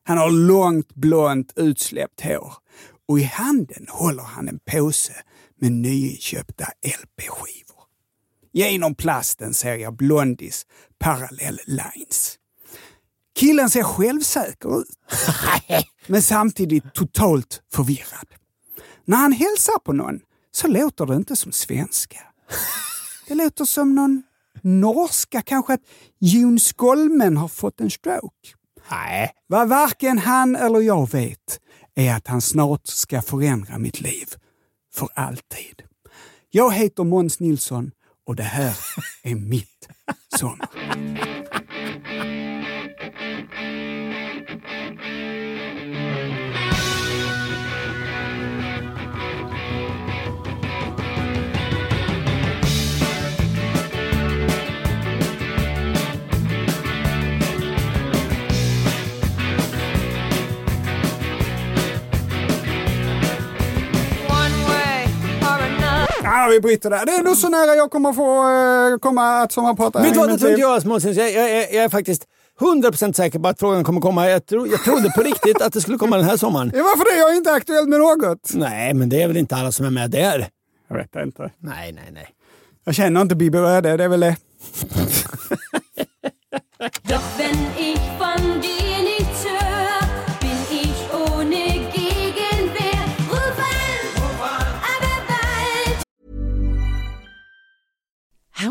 Speaker 2: Han har långt blont utsläppt hår och i handen håller han en påse med nyinköpta LP-skivor. Genom plasten ser jag Blondis Parallel Lines. Killen ser självsäker ut, men samtidigt totalt förvirrad. När han hälsar på någon så låter det inte som svenska. Det låter som någon norska, kanske att Jon Skolmen har fått en stroke. Nej. Vad varken han eller jag vet är att han snart ska förändra mitt liv. För alltid. Jag heter Måns Nilsson och det här är mitt sommar.
Speaker 4: One way or another.
Speaker 2: Ja, vi bryter där. Det är nog så nära jag kommer få eh, komma att sommarprata.
Speaker 1: Vet du vad,
Speaker 2: i
Speaker 1: det
Speaker 2: mitt
Speaker 1: tror
Speaker 2: liv.
Speaker 1: inte jag Måns. Jag, jag, jag jag är faktiskt 100% säker på att frågan kommer komma. Jag, tro, jag trodde på riktigt att det skulle komma den här sommaren.
Speaker 2: Det är varför det. Jag är inte aktuell med något.
Speaker 1: Nej, men det är väl inte alla som är med där?
Speaker 2: Jag vet inte.
Speaker 1: Nej, nej, nej.
Speaker 2: Jag känner inte Bibi Röde, det är väl det.
Speaker 5: Doch wenn ich von dir nichts hör, bin ich ohne Gegenwehr. Ruf an, aber bald.
Speaker 6: How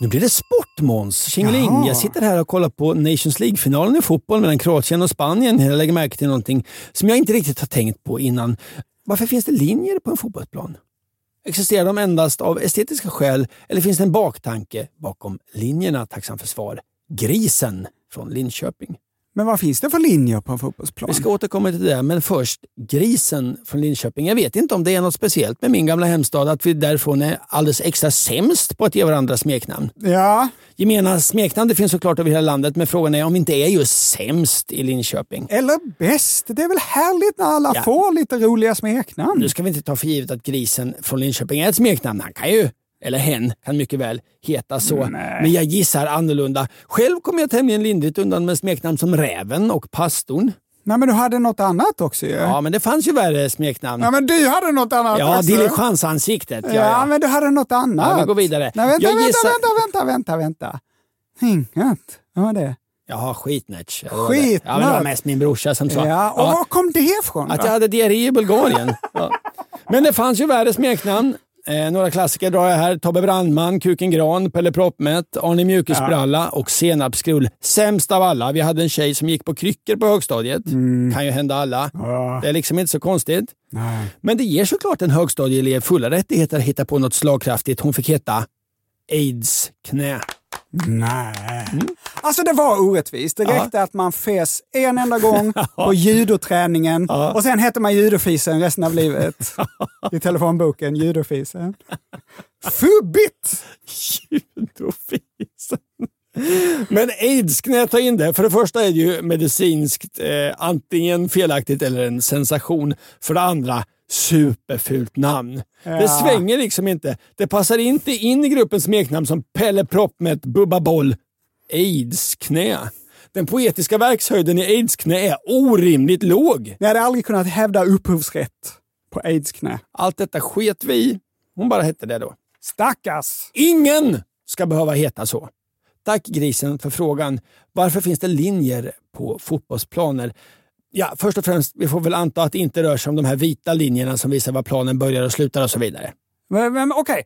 Speaker 1: Nu blir det sport Måns. Tjingeling,
Speaker 2: Jaha.
Speaker 1: jag sitter här och kollar på Nations League-finalen i fotboll mellan Kroatien och Spanien. Jag lägger märke till någonting som jag inte riktigt har tänkt på innan. Varför finns det linjer på en fotbollsplan? Existerar de endast av estetiska skäl eller finns det en baktanke bakom linjerna? Tacksam för svar. Grisen från Linköping.
Speaker 2: Men vad finns det för linjer på en fotbollsplan?
Speaker 1: Vi ska återkomma till det, men först grisen från Linköping. Jag vet inte om det är något speciellt med min gamla hemstad, att vi därifrån är alldeles extra sämst på att ge varandra smeknamn.
Speaker 2: Ja,
Speaker 1: Gemena smeknamn det finns såklart över hela landet, men frågan är om vi inte är just sämst i Linköping.
Speaker 2: eller bäst. Det är väl härligt när alla
Speaker 1: Ja.
Speaker 2: får lite roliga smeknamn?
Speaker 1: Nu ska vi inte ta för givet att grisen från Linköping är ett smeknamn. Han kan ju, eller hen, kan mycket väl heta så. Men jag gissar annorlunda. Själv kommer jag tämligen lindrigt undan med smeknamn som Räven och Pastorn.
Speaker 2: Nej, men du hade något annat också ju. Ja.
Speaker 1: Ja, men det fanns ju värre smeknamn.
Speaker 2: Nej, men du hade något annat
Speaker 1: Ja,
Speaker 2: också.
Speaker 1: diligensansiktet.
Speaker 2: Ja,
Speaker 1: Ja, ja.
Speaker 2: men du hade något annat.
Speaker 1: Ja, vi går vidare.
Speaker 2: Nej, vänta,
Speaker 1: Jag
Speaker 2: vänta,
Speaker 1: gissar-
Speaker 2: vänta, vänta, vänta, vänta. Inget. Vad var det?
Speaker 1: Jaha, skitnatch. Ja, det var det.
Speaker 2: Skitnatch.
Speaker 1: Ja, men det var mest min brorsa som sa.
Speaker 2: Ja, och
Speaker 1: Ja,
Speaker 2: var kom det ifrån?
Speaker 1: att
Speaker 2: då?
Speaker 1: jag hade diarré i Bulgarien. Ja. Men det fanns ju värre smeknamn. Eh, några klassiker drar jag här. Tobbe Brandman, Kuken Gran, Pelle Proppmätt, Arne Mjukisbralla och Senapskrull. Sämst av alla. Vi hade en tjej som gick på kryckor på högstadiet. Kan ju hända alla. Det är liksom inte så konstigt. Men det ger såklart en högstadieelev fulla rättigheter att hitta på något slagkraftigt. Hon fick heta AIDS-knä.
Speaker 2: Nej.
Speaker 1: Mm.
Speaker 2: Alltså det var orättvist. Det räckte att man fes en enda gång på judoträningen och sen hette man judofisen resten av livet. I telefonboken, judofisen. Fubbigt!
Speaker 1: Judofisen. Men aids kan jag ta in det. För det första är det ju medicinskt eh, antingen felaktigt eller en sensation. För det andra superfult namn. Det svänger liksom inte. Det passar inte in i gruppens smeknamn som Pelle Proppmätt, Bubba Boll, aids-knä. Den poetiska verkshöjden i aids-knä är orimligt låg.
Speaker 2: Ni hade aldrig kunnat hävda upphovsrätt på aidsknä.
Speaker 1: Allt detta sket vi i. Hon bara hette det då.
Speaker 2: Stackars!
Speaker 1: Ingen ska behöva heta så. Tack grisen för frågan. Varför finns det linjer på fotbollsplaner? Ja, först och främst, vi får väl anta att det inte rör sig om de här vita linjerna som visar var planen börjar och slutar och så vidare.
Speaker 2: Men, men, Okej,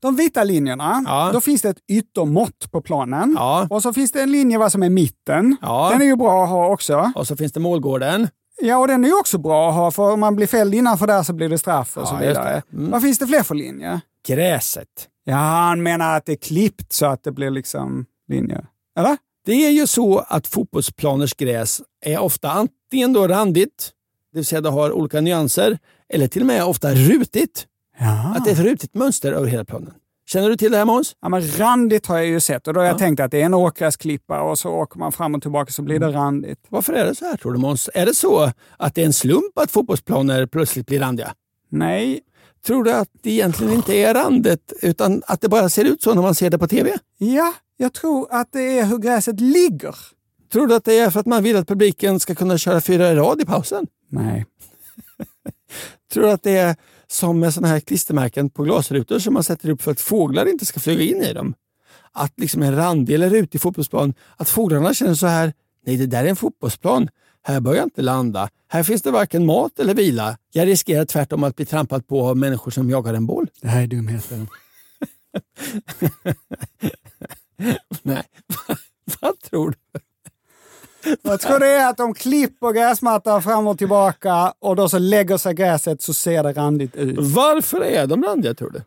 Speaker 2: de vita linjerna,
Speaker 1: Ja.
Speaker 2: då finns det ett yttermått på planen.
Speaker 1: Ja.
Speaker 2: Och så finns det en linje vad som är mitten.
Speaker 1: Ja.
Speaker 2: Den är ju bra att ha också.
Speaker 1: Och så finns det målgården.
Speaker 2: Ja, och den är ju också bra att ha, för om man blir fälld innanför där så blir det straff och så
Speaker 1: just Mm.
Speaker 2: vidare. Vad finns det fler för linjer?
Speaker 1: Gräset.
Speaker 2: Ja, han menar att det är klippt så att det blir liksom linjer. Eller?
Speaker 1: Det är ju så att fotbollsplaners gräs är ofta antingen då randigt, det vill säga det har olika nyanser, eller till och med ofta rutigt. Att det är ett rutigt mönster över hela planen. Känner du till det här Måns?
Speaker 2: Ja, men randigt har jag ju sett och då har jag tänkt att det är en åkgräsklippa och så åker man fram och tillbaka så blir det
Speaker 1: Mm.
Speaker 2: randigt.
Speaker 1: Varför är det så här tror du Måns? Är det så att det är en slump att fotbollsplaner plötsligt blir randiga?
Speaker 2: Nej,
Speaker 1: Tror du att det egentligen inte är randet utan att det bara ser ut så när man ser det på TV?
Speaker 2: ja, jag tror att det är hur gräset ligger.
Speaker 1: Tror du att det är för att man vill att publiken ska kunna köra fyra i rad i pausen?
Speaker 2: Nej.
Speaker 1: Tror du att det är som med sådana här klistermärken på glasrutor som man sätter upp för att fåglar inte ska flyga in i dem? Att liksom en randig eller rutig fotbollsplan, att fåglarna känner så här, nej det där är en fotbollsplan, här bör jag inte landa, här finns det varken mat eller vila, jag riskerar tvärtom att bli trampad på av människor som jagar en boll.
Speaker 2: Det här är dumheten.
Speaker 1: Nej, vad tror du?
Speaker 2: Jag tror det är att de klipper gräsmattan fram och tillbaka och då så lägger sig gräset så ser det randigt ut.
Speaker 1: Varför är de randiga tror du?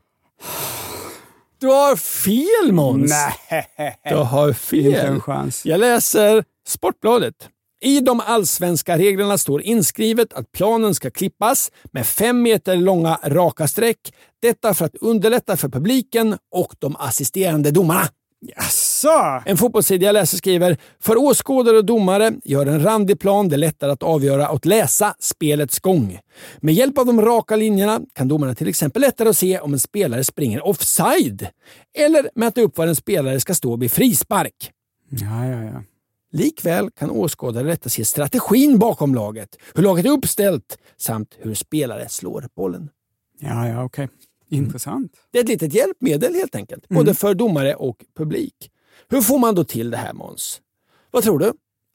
Speaker 1: Du har fel Måns!
Speaker 2: Nej.
Speaker 1: Du har
Speaker 2: Inte
Speaker 1: fel.
Speaker 2: en chans.
Speaker 1: Jag läser Sportbladet. I de allsvenska reglerna står inskrivet att planen ska klippas med fem meter långa raka streck. Detta för att underlätta för publiken och de assisterande domarna.
Speaker 2: Jaså?
Speaker 1: En fotbollssida jag läser skriver “För åskådare och domare gör en randig plan det lättare att avgöra och läsa spelets gång. Med hjälp av de raka linjerna kan domarna till exempel lättare att se om en spelare springer offside eller mäta upp var en spelare ska stå vid frispark.
Speaker 2: Ja, ja, ja.
Speaker 1: Likväl kan åskådare lättare se strategin bakom laget, hur laget är uppställt samt hur spelare slår bollen.
Speaker 2: Ja, ja, okej. Intressant.
Speaker 1: Det är ett litet hjälpmedel helt enkelt,
Speaker 2: Mm.
Speaker 1: både för domare och publik. Hur får man då till det här Måns? Vad tror du?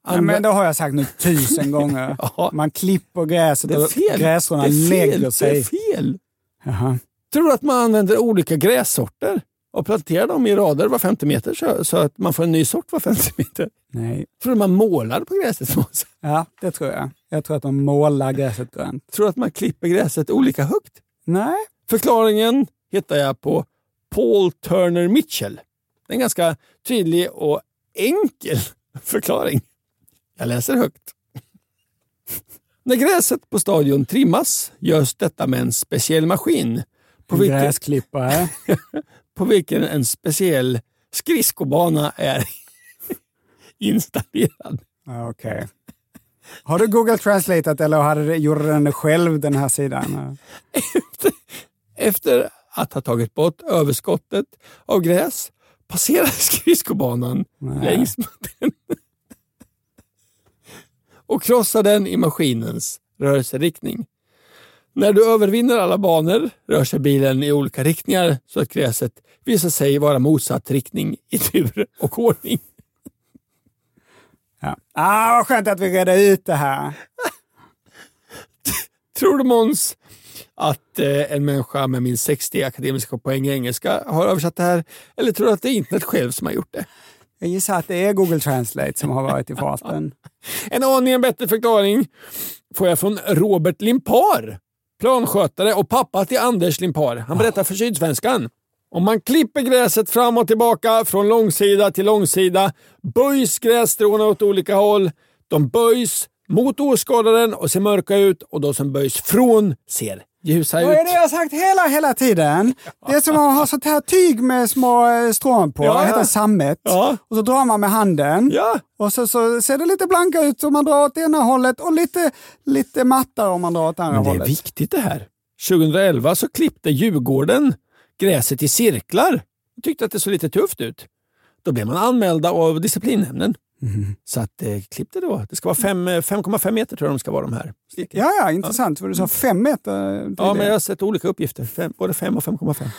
Speaker 2: Ja, men det har jag sagt nu tusen gånger.
Speaker 1: Ja.
Speaker 2: Man klipper gräset
Speaker 1: Det är
Speaker 2: och
Speaker 1: fel.
Speaker 2: gräsrorna
Speaker 1: det är fel.
Speaker 2: lägger
Speaker 1: Det är
Speaker 2: sig.
Speaker 1: fel.
Speaker 2: Jaha.
Speaker 1: Tror du att man använder olika grässorter och planterar dem i rader var 50 meter så, så att man får en ny sort var 50 meter?
Speaker 2: Nej.
Speaker 1: Tror du man målar på gräset? Måns?
Speaker 2: Ja, det tror jag. Jag tror att de målar gräset grönt.
Speaker 1: Tror du att man klipper gräset olika högt?
Speaker 2: Nej.
Speaker 1: Förklaringen hittar jag på Paul Turner Mitchell. Det är en ganska tydlig och enkel förklaring. Jag läser högt. När gräset på stadion trimmas görs detta med en speciell maskin på vilken,
Speaker 2: Gräsklippare.
Speaker 1: på vilken en speciell skridskobana är installerad.
Speaker 2: Ja, Ah, Okej. Har du Google Translateat eller hade det, gjorde den det själv den här sidan?
Speaker 1: Efter att ha tagit bort överskottet av gräs passerar skridskobanan längs med den och krossar den i maskinens rörelseriktning. När du övervinner alla banor rör sig bilen i olika riktningar så att gräset visar sig vara motsatt riktning i tur och ordning.
Speaker 2: Ja. Ah, vad skönt att vi redde ut det här.
Speaker 1: Tror du Måns att eh, en människa med minst 60 akademiska poäng i engelska har översatt det här? Eller tror du att det är internet själv som har gjort det?
Speaker 2: Jag gissar att det är Google Translate som har varit i farten.
Speaker 1: En aningen bättre förklaring får jag från Robert Limpar, planskötare och pappa till Anders Limpar. Han berättar för Sydsvenskan. Om man klipper gräset fram och tillbaka från långsida till långsida böjs grässtråna åt olika håll. De böjs mot åskådaren och ser mörka ut och de som böjs från ser ljusa ut.
Speaker 2: Vad är det jag har sagt hela, hela tiden? Det är som att ha sånt här tyg med små eh, strån på,
Speaker 1: Ja,
Speaker 2: det heter
Speaker 1: ja.
Speaker 2: sammet.
Speaker 1: Ja.
Speaker 2: Och så drar man med handen.
Speaker 1: Ja.
Speaker 2: Och så, så ser det lite blanka ut om man drar åt ena hållet och lite, lite mattare om man drar åt andra
Speaker 1: Men det är
Speaker 2: hållet.
Speaker 1: viktigt det här. 2011 så klippte Djurgården gräset i cirklar och tyckte att det såg lite tufft ut. Då blev man anmälda av disciplinnämnden.
Speaker 2: Mhm.
Speaker 1: Så att, eh, klipp det då. Det ska vara fem- eh, 5,5 meter tror jag de ska vara de här. strecken.
Speaker 2: Ja, ja, intressant. För du sa fem meter. till
Speaker 1: Ja,
Speaker 2: det.
Speaker 1: men jag har sett olika uppgifter. Fem, både 5 och 5,5.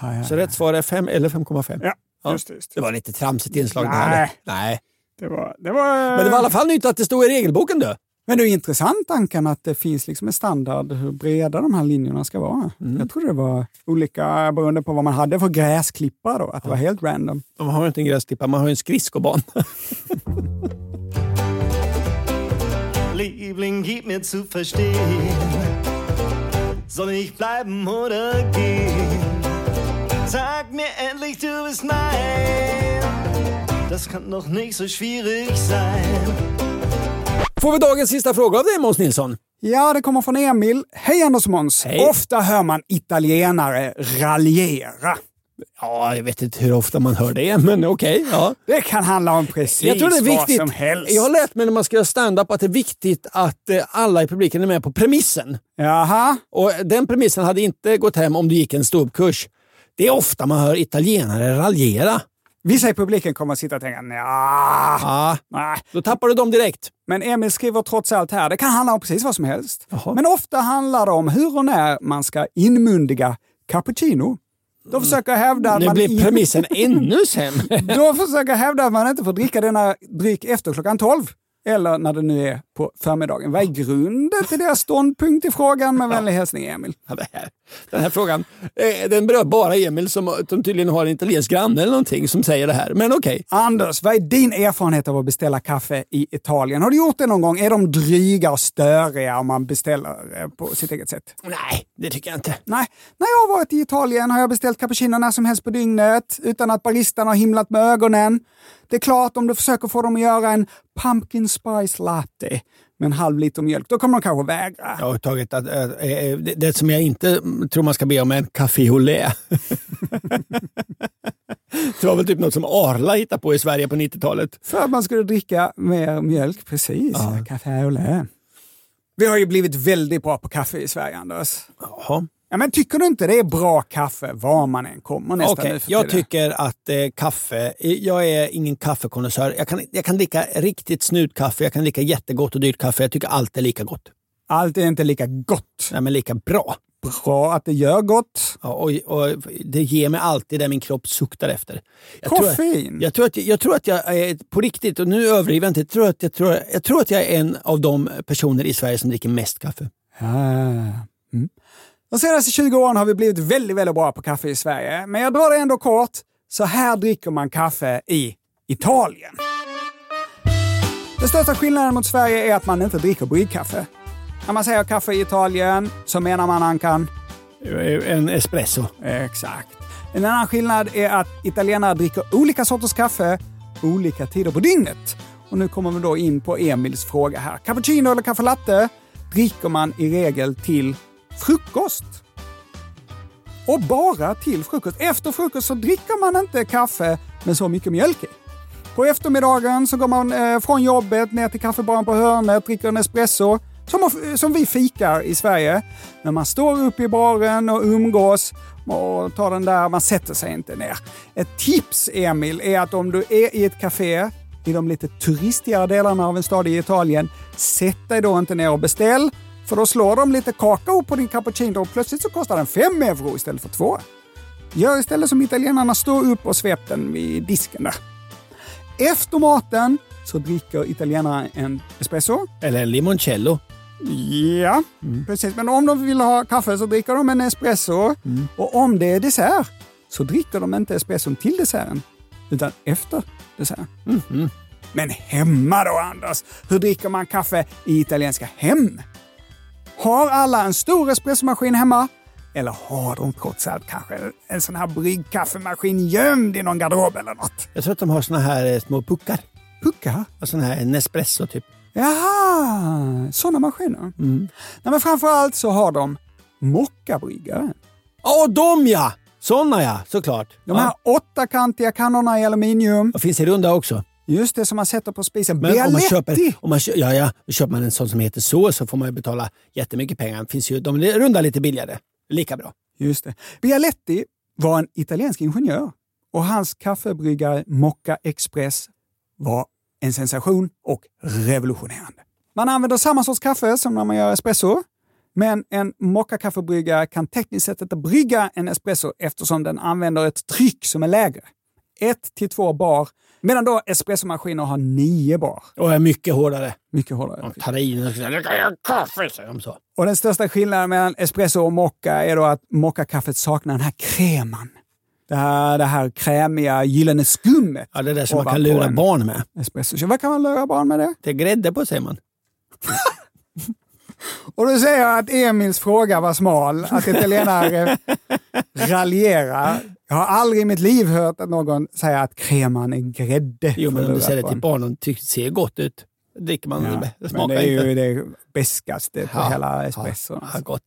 Speaker 2: Ja, ja.
Speaker 1: Så rätt svar är 5 eller 5,5.
Speaker 2: Äh. Ja, just det, just det.
Speaker 1: det var lite tramsigt inslag. det
Speaker 2: Nej.
Speaker 1: här. Nej.
Speaker 2: Det var, det var...
Speaker 1: Men det var i alla fall nytt att det stod i regelboken. Då.
Speaker 2: Men det är ju intressant tanken att det finns liksom en standard hur breda de här linjerna ska vara.
Speaker 1: Mm.
Speaker 2: Jag trodde det var olika eh, beroende på vad man hade för gräsklippa då, att det var helt random.
Speaker 1: Man har inte en gräsklippa, man har en skridskobana.
Speaker 6: Liebling, gib mir zu verstehen, soll ich bleiben oder gehen? Sag mir endlich, du bist mein. Das kann doch nicht so schwierig sein.
Speaker 1: Får vi dagens sista fråga av dig Måns Nilsson?
Speaker 2: Ja, det kommer från Emil. Hej Anders och Måns!
Speaker 1: Hej.
Speaker 2: Ofta hör man italienare raljera.
Speaker 1: Ja, jag vet inte hur ofta man hör det, men okej. ja.
Speaker 2: Det kan handla om precis
Speaker 1: Jag tror det är
Speaker 2: vad
Speaker 1: viktigt.
Speaker 2: som helst.
Speaker 1: Jag har lärt mig när man ska göra stand-up att det är viktigt att eh, alla i publiken är med på premissen.
Speaker 2: Jaha,
Speaker 1: Och eh, den premissen hade inte gått hem om du gick en ståuppkurs. Det är ofta man hör italienare raljera.
Speaker 2: vissa i publiken kommer att sitta och tänka "Nja,
Speaker 1: Ja,
Speaker 2: nej.
Speaker 1: då tappar du dem direkt.
Speaker 2: Men Emil skriver trots allt här, det kan handla om precis vad som helst. Men ofta handlar det om hur och när man ska inmundiga cappuccino. De försöker hävda att
Speaker 1: Nu
Speaker 2: man
Speaker 1: blir
Speaker 2: in-
Speaker 1: premissen ännu sämre.
Speaker 2: De försöker hävda att man inte får dricka denna dryck efter klockan 12. Eller när det nu är på på förmiddagen. Vad är grunden till deras ståndpunkt i frågan? Med vänlig hälsning Emil.
Speaker 1: Ja, det här. Den här frågan eh, den berör bara Emil som, som tydligen har en italiensk granne eller någonting som säger det här. Men okej.
Speaker 2: Anders, vad är din erfarenhet av att beställa kaffe i Italien? Har du gjort det någon gång? Är de dryga och störiga om man beställer eh, på sitt eget sätt?
Speaker 1: Nej, det tycker jag inte.
Speaker 2: Nej, när jag har varit i Italien har jag beställt cappuccino när som helst på dygnet utan att baristan har himlat med ögonen. Det är klart, om du försöker få dem att göra en pumpkin spice latte med en halv liter mjölk, då kommer de kanske vägra.
Speaker 1: Jag har tagit att, eh, eh, det, det som jag inte mm, tror man ska be om är en café au lait. det var väl typ något som Arla hittade på i Sverige på 90-talet.
Speaker 2: För att man skulle dricka mer mjölk, precis. Ja. Café au lait. Vi har ju blivit väldigt bra på kaffe i Sverige, Anders.
Speaker 1: Jaha.
Speaker 2: Ja, men tycker du inte det är bra kaffe var man än kommer nästan
Speaker 1: Okej,
Speaker 2: nu för
Speaker 1: jag
Speaker 2: tiden?
Speaker 1: tycker att eh, kaffe, jag är ingen kaffekonnässör. Jag kan, jag kan dricka riktigt snutkaffe, jag kan dricka jättegott och dyrt kaffe. Jag tycker allt är lika gott.
Speaker 2: Allt är inte lika gott.
Speaker 1: Nej, men lika bra.
Speaker 2: Bra att det gör gott.
Speaker 1: Ja, och, och det ger mig alltid det min kropp suktar efter. Jag
Speaker 2: Koffein.
Speaker 1: Tror, jag, tror att, jag tror att jag är, på riktigt, och nu överdriver jag inte, jag tror, att jag, tror, jag tror att jag är en av de personer i Sverige som dricker mest kaffe.
Speaker 2: Ah. Mm. De senaste 20 åren har vi blivit väldigt, väldigt bra på kaffe i Sverige, men jag drar det ändå kort. Så här dricker man kaffe i Italien. Den största skillnaden mot Sverige är att man inte dricker bryggkaffe. När man säger kaffe i Italien så menar man Ankan...
Speaker 1: En espresso.
Speaker 2: Exakt. En annan skillnad är att italienare dricker olika sorters kaffe olika tider på dygnet. Och nu kommer vi då in på Emils fråga här. Cappuccino eller kaffe latte dricker man i regel till frukost. Och bara till frukost. Efter frukost så dricker man inte kaffe med så mycket mjölk i. På eftermiddagen så går man eh, från jobbet ner till kaffebaren på hörnet, dricker en espresso, som, of- eh, som vi fikar i Sverige. Men man står uppe i baren och umgås och tar den där, man sätter sig inte ner. Ett tips, Emil, är att om du är i ett café i de lite turistigare delarna av en stad i Italien, sätt dig då inte ner och beställ, för då slår de lite kakao på din cappuccino och plötsligt så kostar den 5 euro istället för 2. Gör istället som italienarna, stå upp och svep den vid disken där. Efter maten så dricker italienarna en espresso.
Speaker 1: Eller en limoncello.
Speaker 2: Ja, precis. Men om de vill ha kaffe så dricker de en espresso. Och om det är dessert så dricker de inte espresson till desserten, utan efter desserten. Men hemma då, Anders? Hur dricker man kaffe i italienska hem? Har alla en stor espressomaskin hemma? Eller har de trots allt kanske en sån här bryggkaffemaskin gömd i någon garderob eller något?
Speaker 1: Jag tror att de har såna här eh, små puckar.
Speaker 2: Puckar?
Speaker 1: Och sån här Nespresso typ.
Speaker 2: Jaha, sådana maskiner. Nej, men framför allt så har de mockabryggare.
Speaker 1: Åh, de ja! Såna ja, såklart.
Speaker 2: De här
Speaker 1: Ja.
Speaker 2: åttakantiga kannorna i aluminium.
Speaker 1: Och finns i runda också.
Speaker 2: Just det som man sätter på spisen.
Speaker 1: Men om man
Speaker 2: Bialetti!
Speaker 1: köper, om man, kö- ja, ja, då köper man en sån som heter så, så får man ju betala jättemycket pengar. Finns ju, de är runda lite billigare. Lika bra.
Speaker 2: Just det. Bialetti var en italiensk ingenjör och hans kaffebryggare Mocca Express var en sensation och revolutionerande. Man använder samma sorts kaffe som när man gör espresso, men en mockakaffebryggare kan tekniskt sett inte brygga en espresso eftersom den använder ett tryck som är lägre. 1 till 2 bar, medan då espressomaskiner har 9 bar.
Speaker 1: Och är mycket hårdare.
Speaker 2: Mycket hårdare.
Speaker 1: De tar in och så där, "Nu kan jag ha kaffe, säger de så.
Speaker 2: Och den största skillnaden mellan espresso och mocka är då att mockakaffet saknar den här kreman. Det här, det här krämiga gyllene skummet.
Speaker 1: Ja, det där som man
Speaker 2: ovanpå
Speaker 1: kan lura
Speaker 2: en
Speaker 1: barn med.
Speaker 2: Espresso. Så vad kan man lura barn med det?
Speaker 1: Det är grädde på säger man.
Speaker 2: Och då säger jag att Emils fråga var smal, att italienare raljerar. Jag har aldrig i mitt liv hört att någon säger att kreman är grädde.
Speaker 1: Jo,
Speaker 2: för
Speaker 1: men
Speaker 2: att
Speaker 1: om du
Speaker 2: lura
Speaker 1: säger det
Speaker 2: barn.
Speaker 1: till barn, de tycker det ser gott ut. Dricker man
Speaker 2: Ja,
Speaker 1: det
Speaker 2: men
Speaker 1: smakar
Speaker 2: det är
Speaker 1: inte.
Speaker 2: ju det beskaste på
Speaker 1: Ja,
Speaker 2: hela espresson.
Speaker 1: Ja, gott.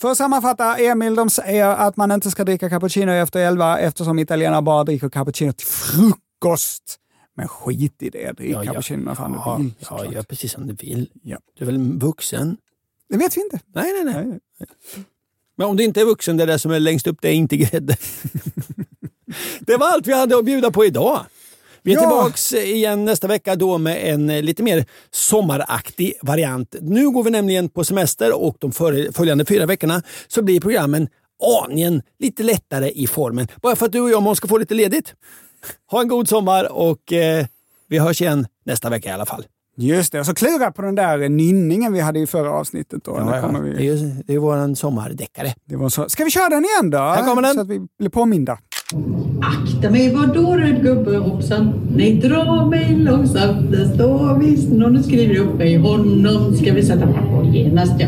Speaker 2: För att sammanfatta, Emil de säger att man inte ska dricka cappuccino efter elva eftersom italienare bara dricker cappuccino till frukost. Men skit i det, drick
Speaker 1: Ja, ja.
Speaker 2: cappuccino när fan
Speaker 1: Ja,
Speaker 2: du vill.
Speaker 1: ja,
Speaker 2: såklart.
Speaker 1: gör precis som du vill.
Speaker 2: Ja.
Speaker 1: Du är väl vuxen?
Speaker 2: Det vet vi inte.
Speaker 1: Nej, nej, nej.
Speaker 2: Nej.
Speaker 1: Men om du inte är vuxen, det där som är längst upp, det är inte grädde. det var allt vi hade att bjuda på idag. Vi är
Speaker 2: Ja.
Speaker 1: tillbaks igen nästa vecka då med en eh, lite mer sommaraktig variant. Nu går vi nämligen på semester och de före- följande fyra veckorna så blir programmen aningen lite lättare i formen. Bara för att du och jag Måns ska få lite ledigt. Ha en god sommar och eh, vi hörs igen nästa vecka i alla fall.
Speaker 2: Just det, och så klura på den där nynningen vi hade i förra avsnittet. Då.
Speaker 1: Ja,
Speaker 2: Nu
Speaker 1: ja.
Speaker 2: kommer
Speaker 1: Det,
Speaker 2: vi...
Speaker 1: är, ju- det är våran sommardeckare.
Speaker 2: det var så... Ska vi köra den igen då? Här
Speaker 1: kommer den.
Speaker 2: Så att vi blir påminda.
Speaker 7: Akta mig, vadå röd gubbe hoppsan? Nej, dra mig långsamt, där står visst någon och skriver upp mig. Honom ska vi sätta på genast, ja.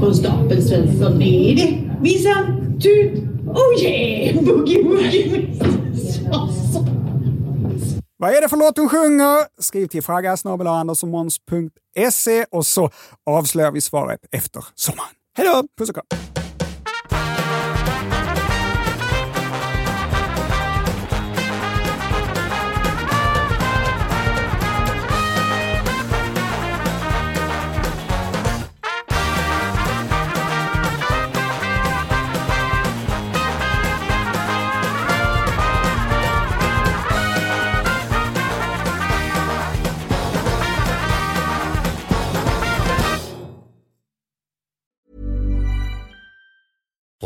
Speaker 7: Konstapel Svensson, är det minsann tut? Oh yeah, boogie woogie. Så, så.
Speaker 2: Vad är det för låt hon sjunger? Skriv till fragga.andersomons.se och så avslöjar vi svaret efter sommaren. Hej då! Puss och kram!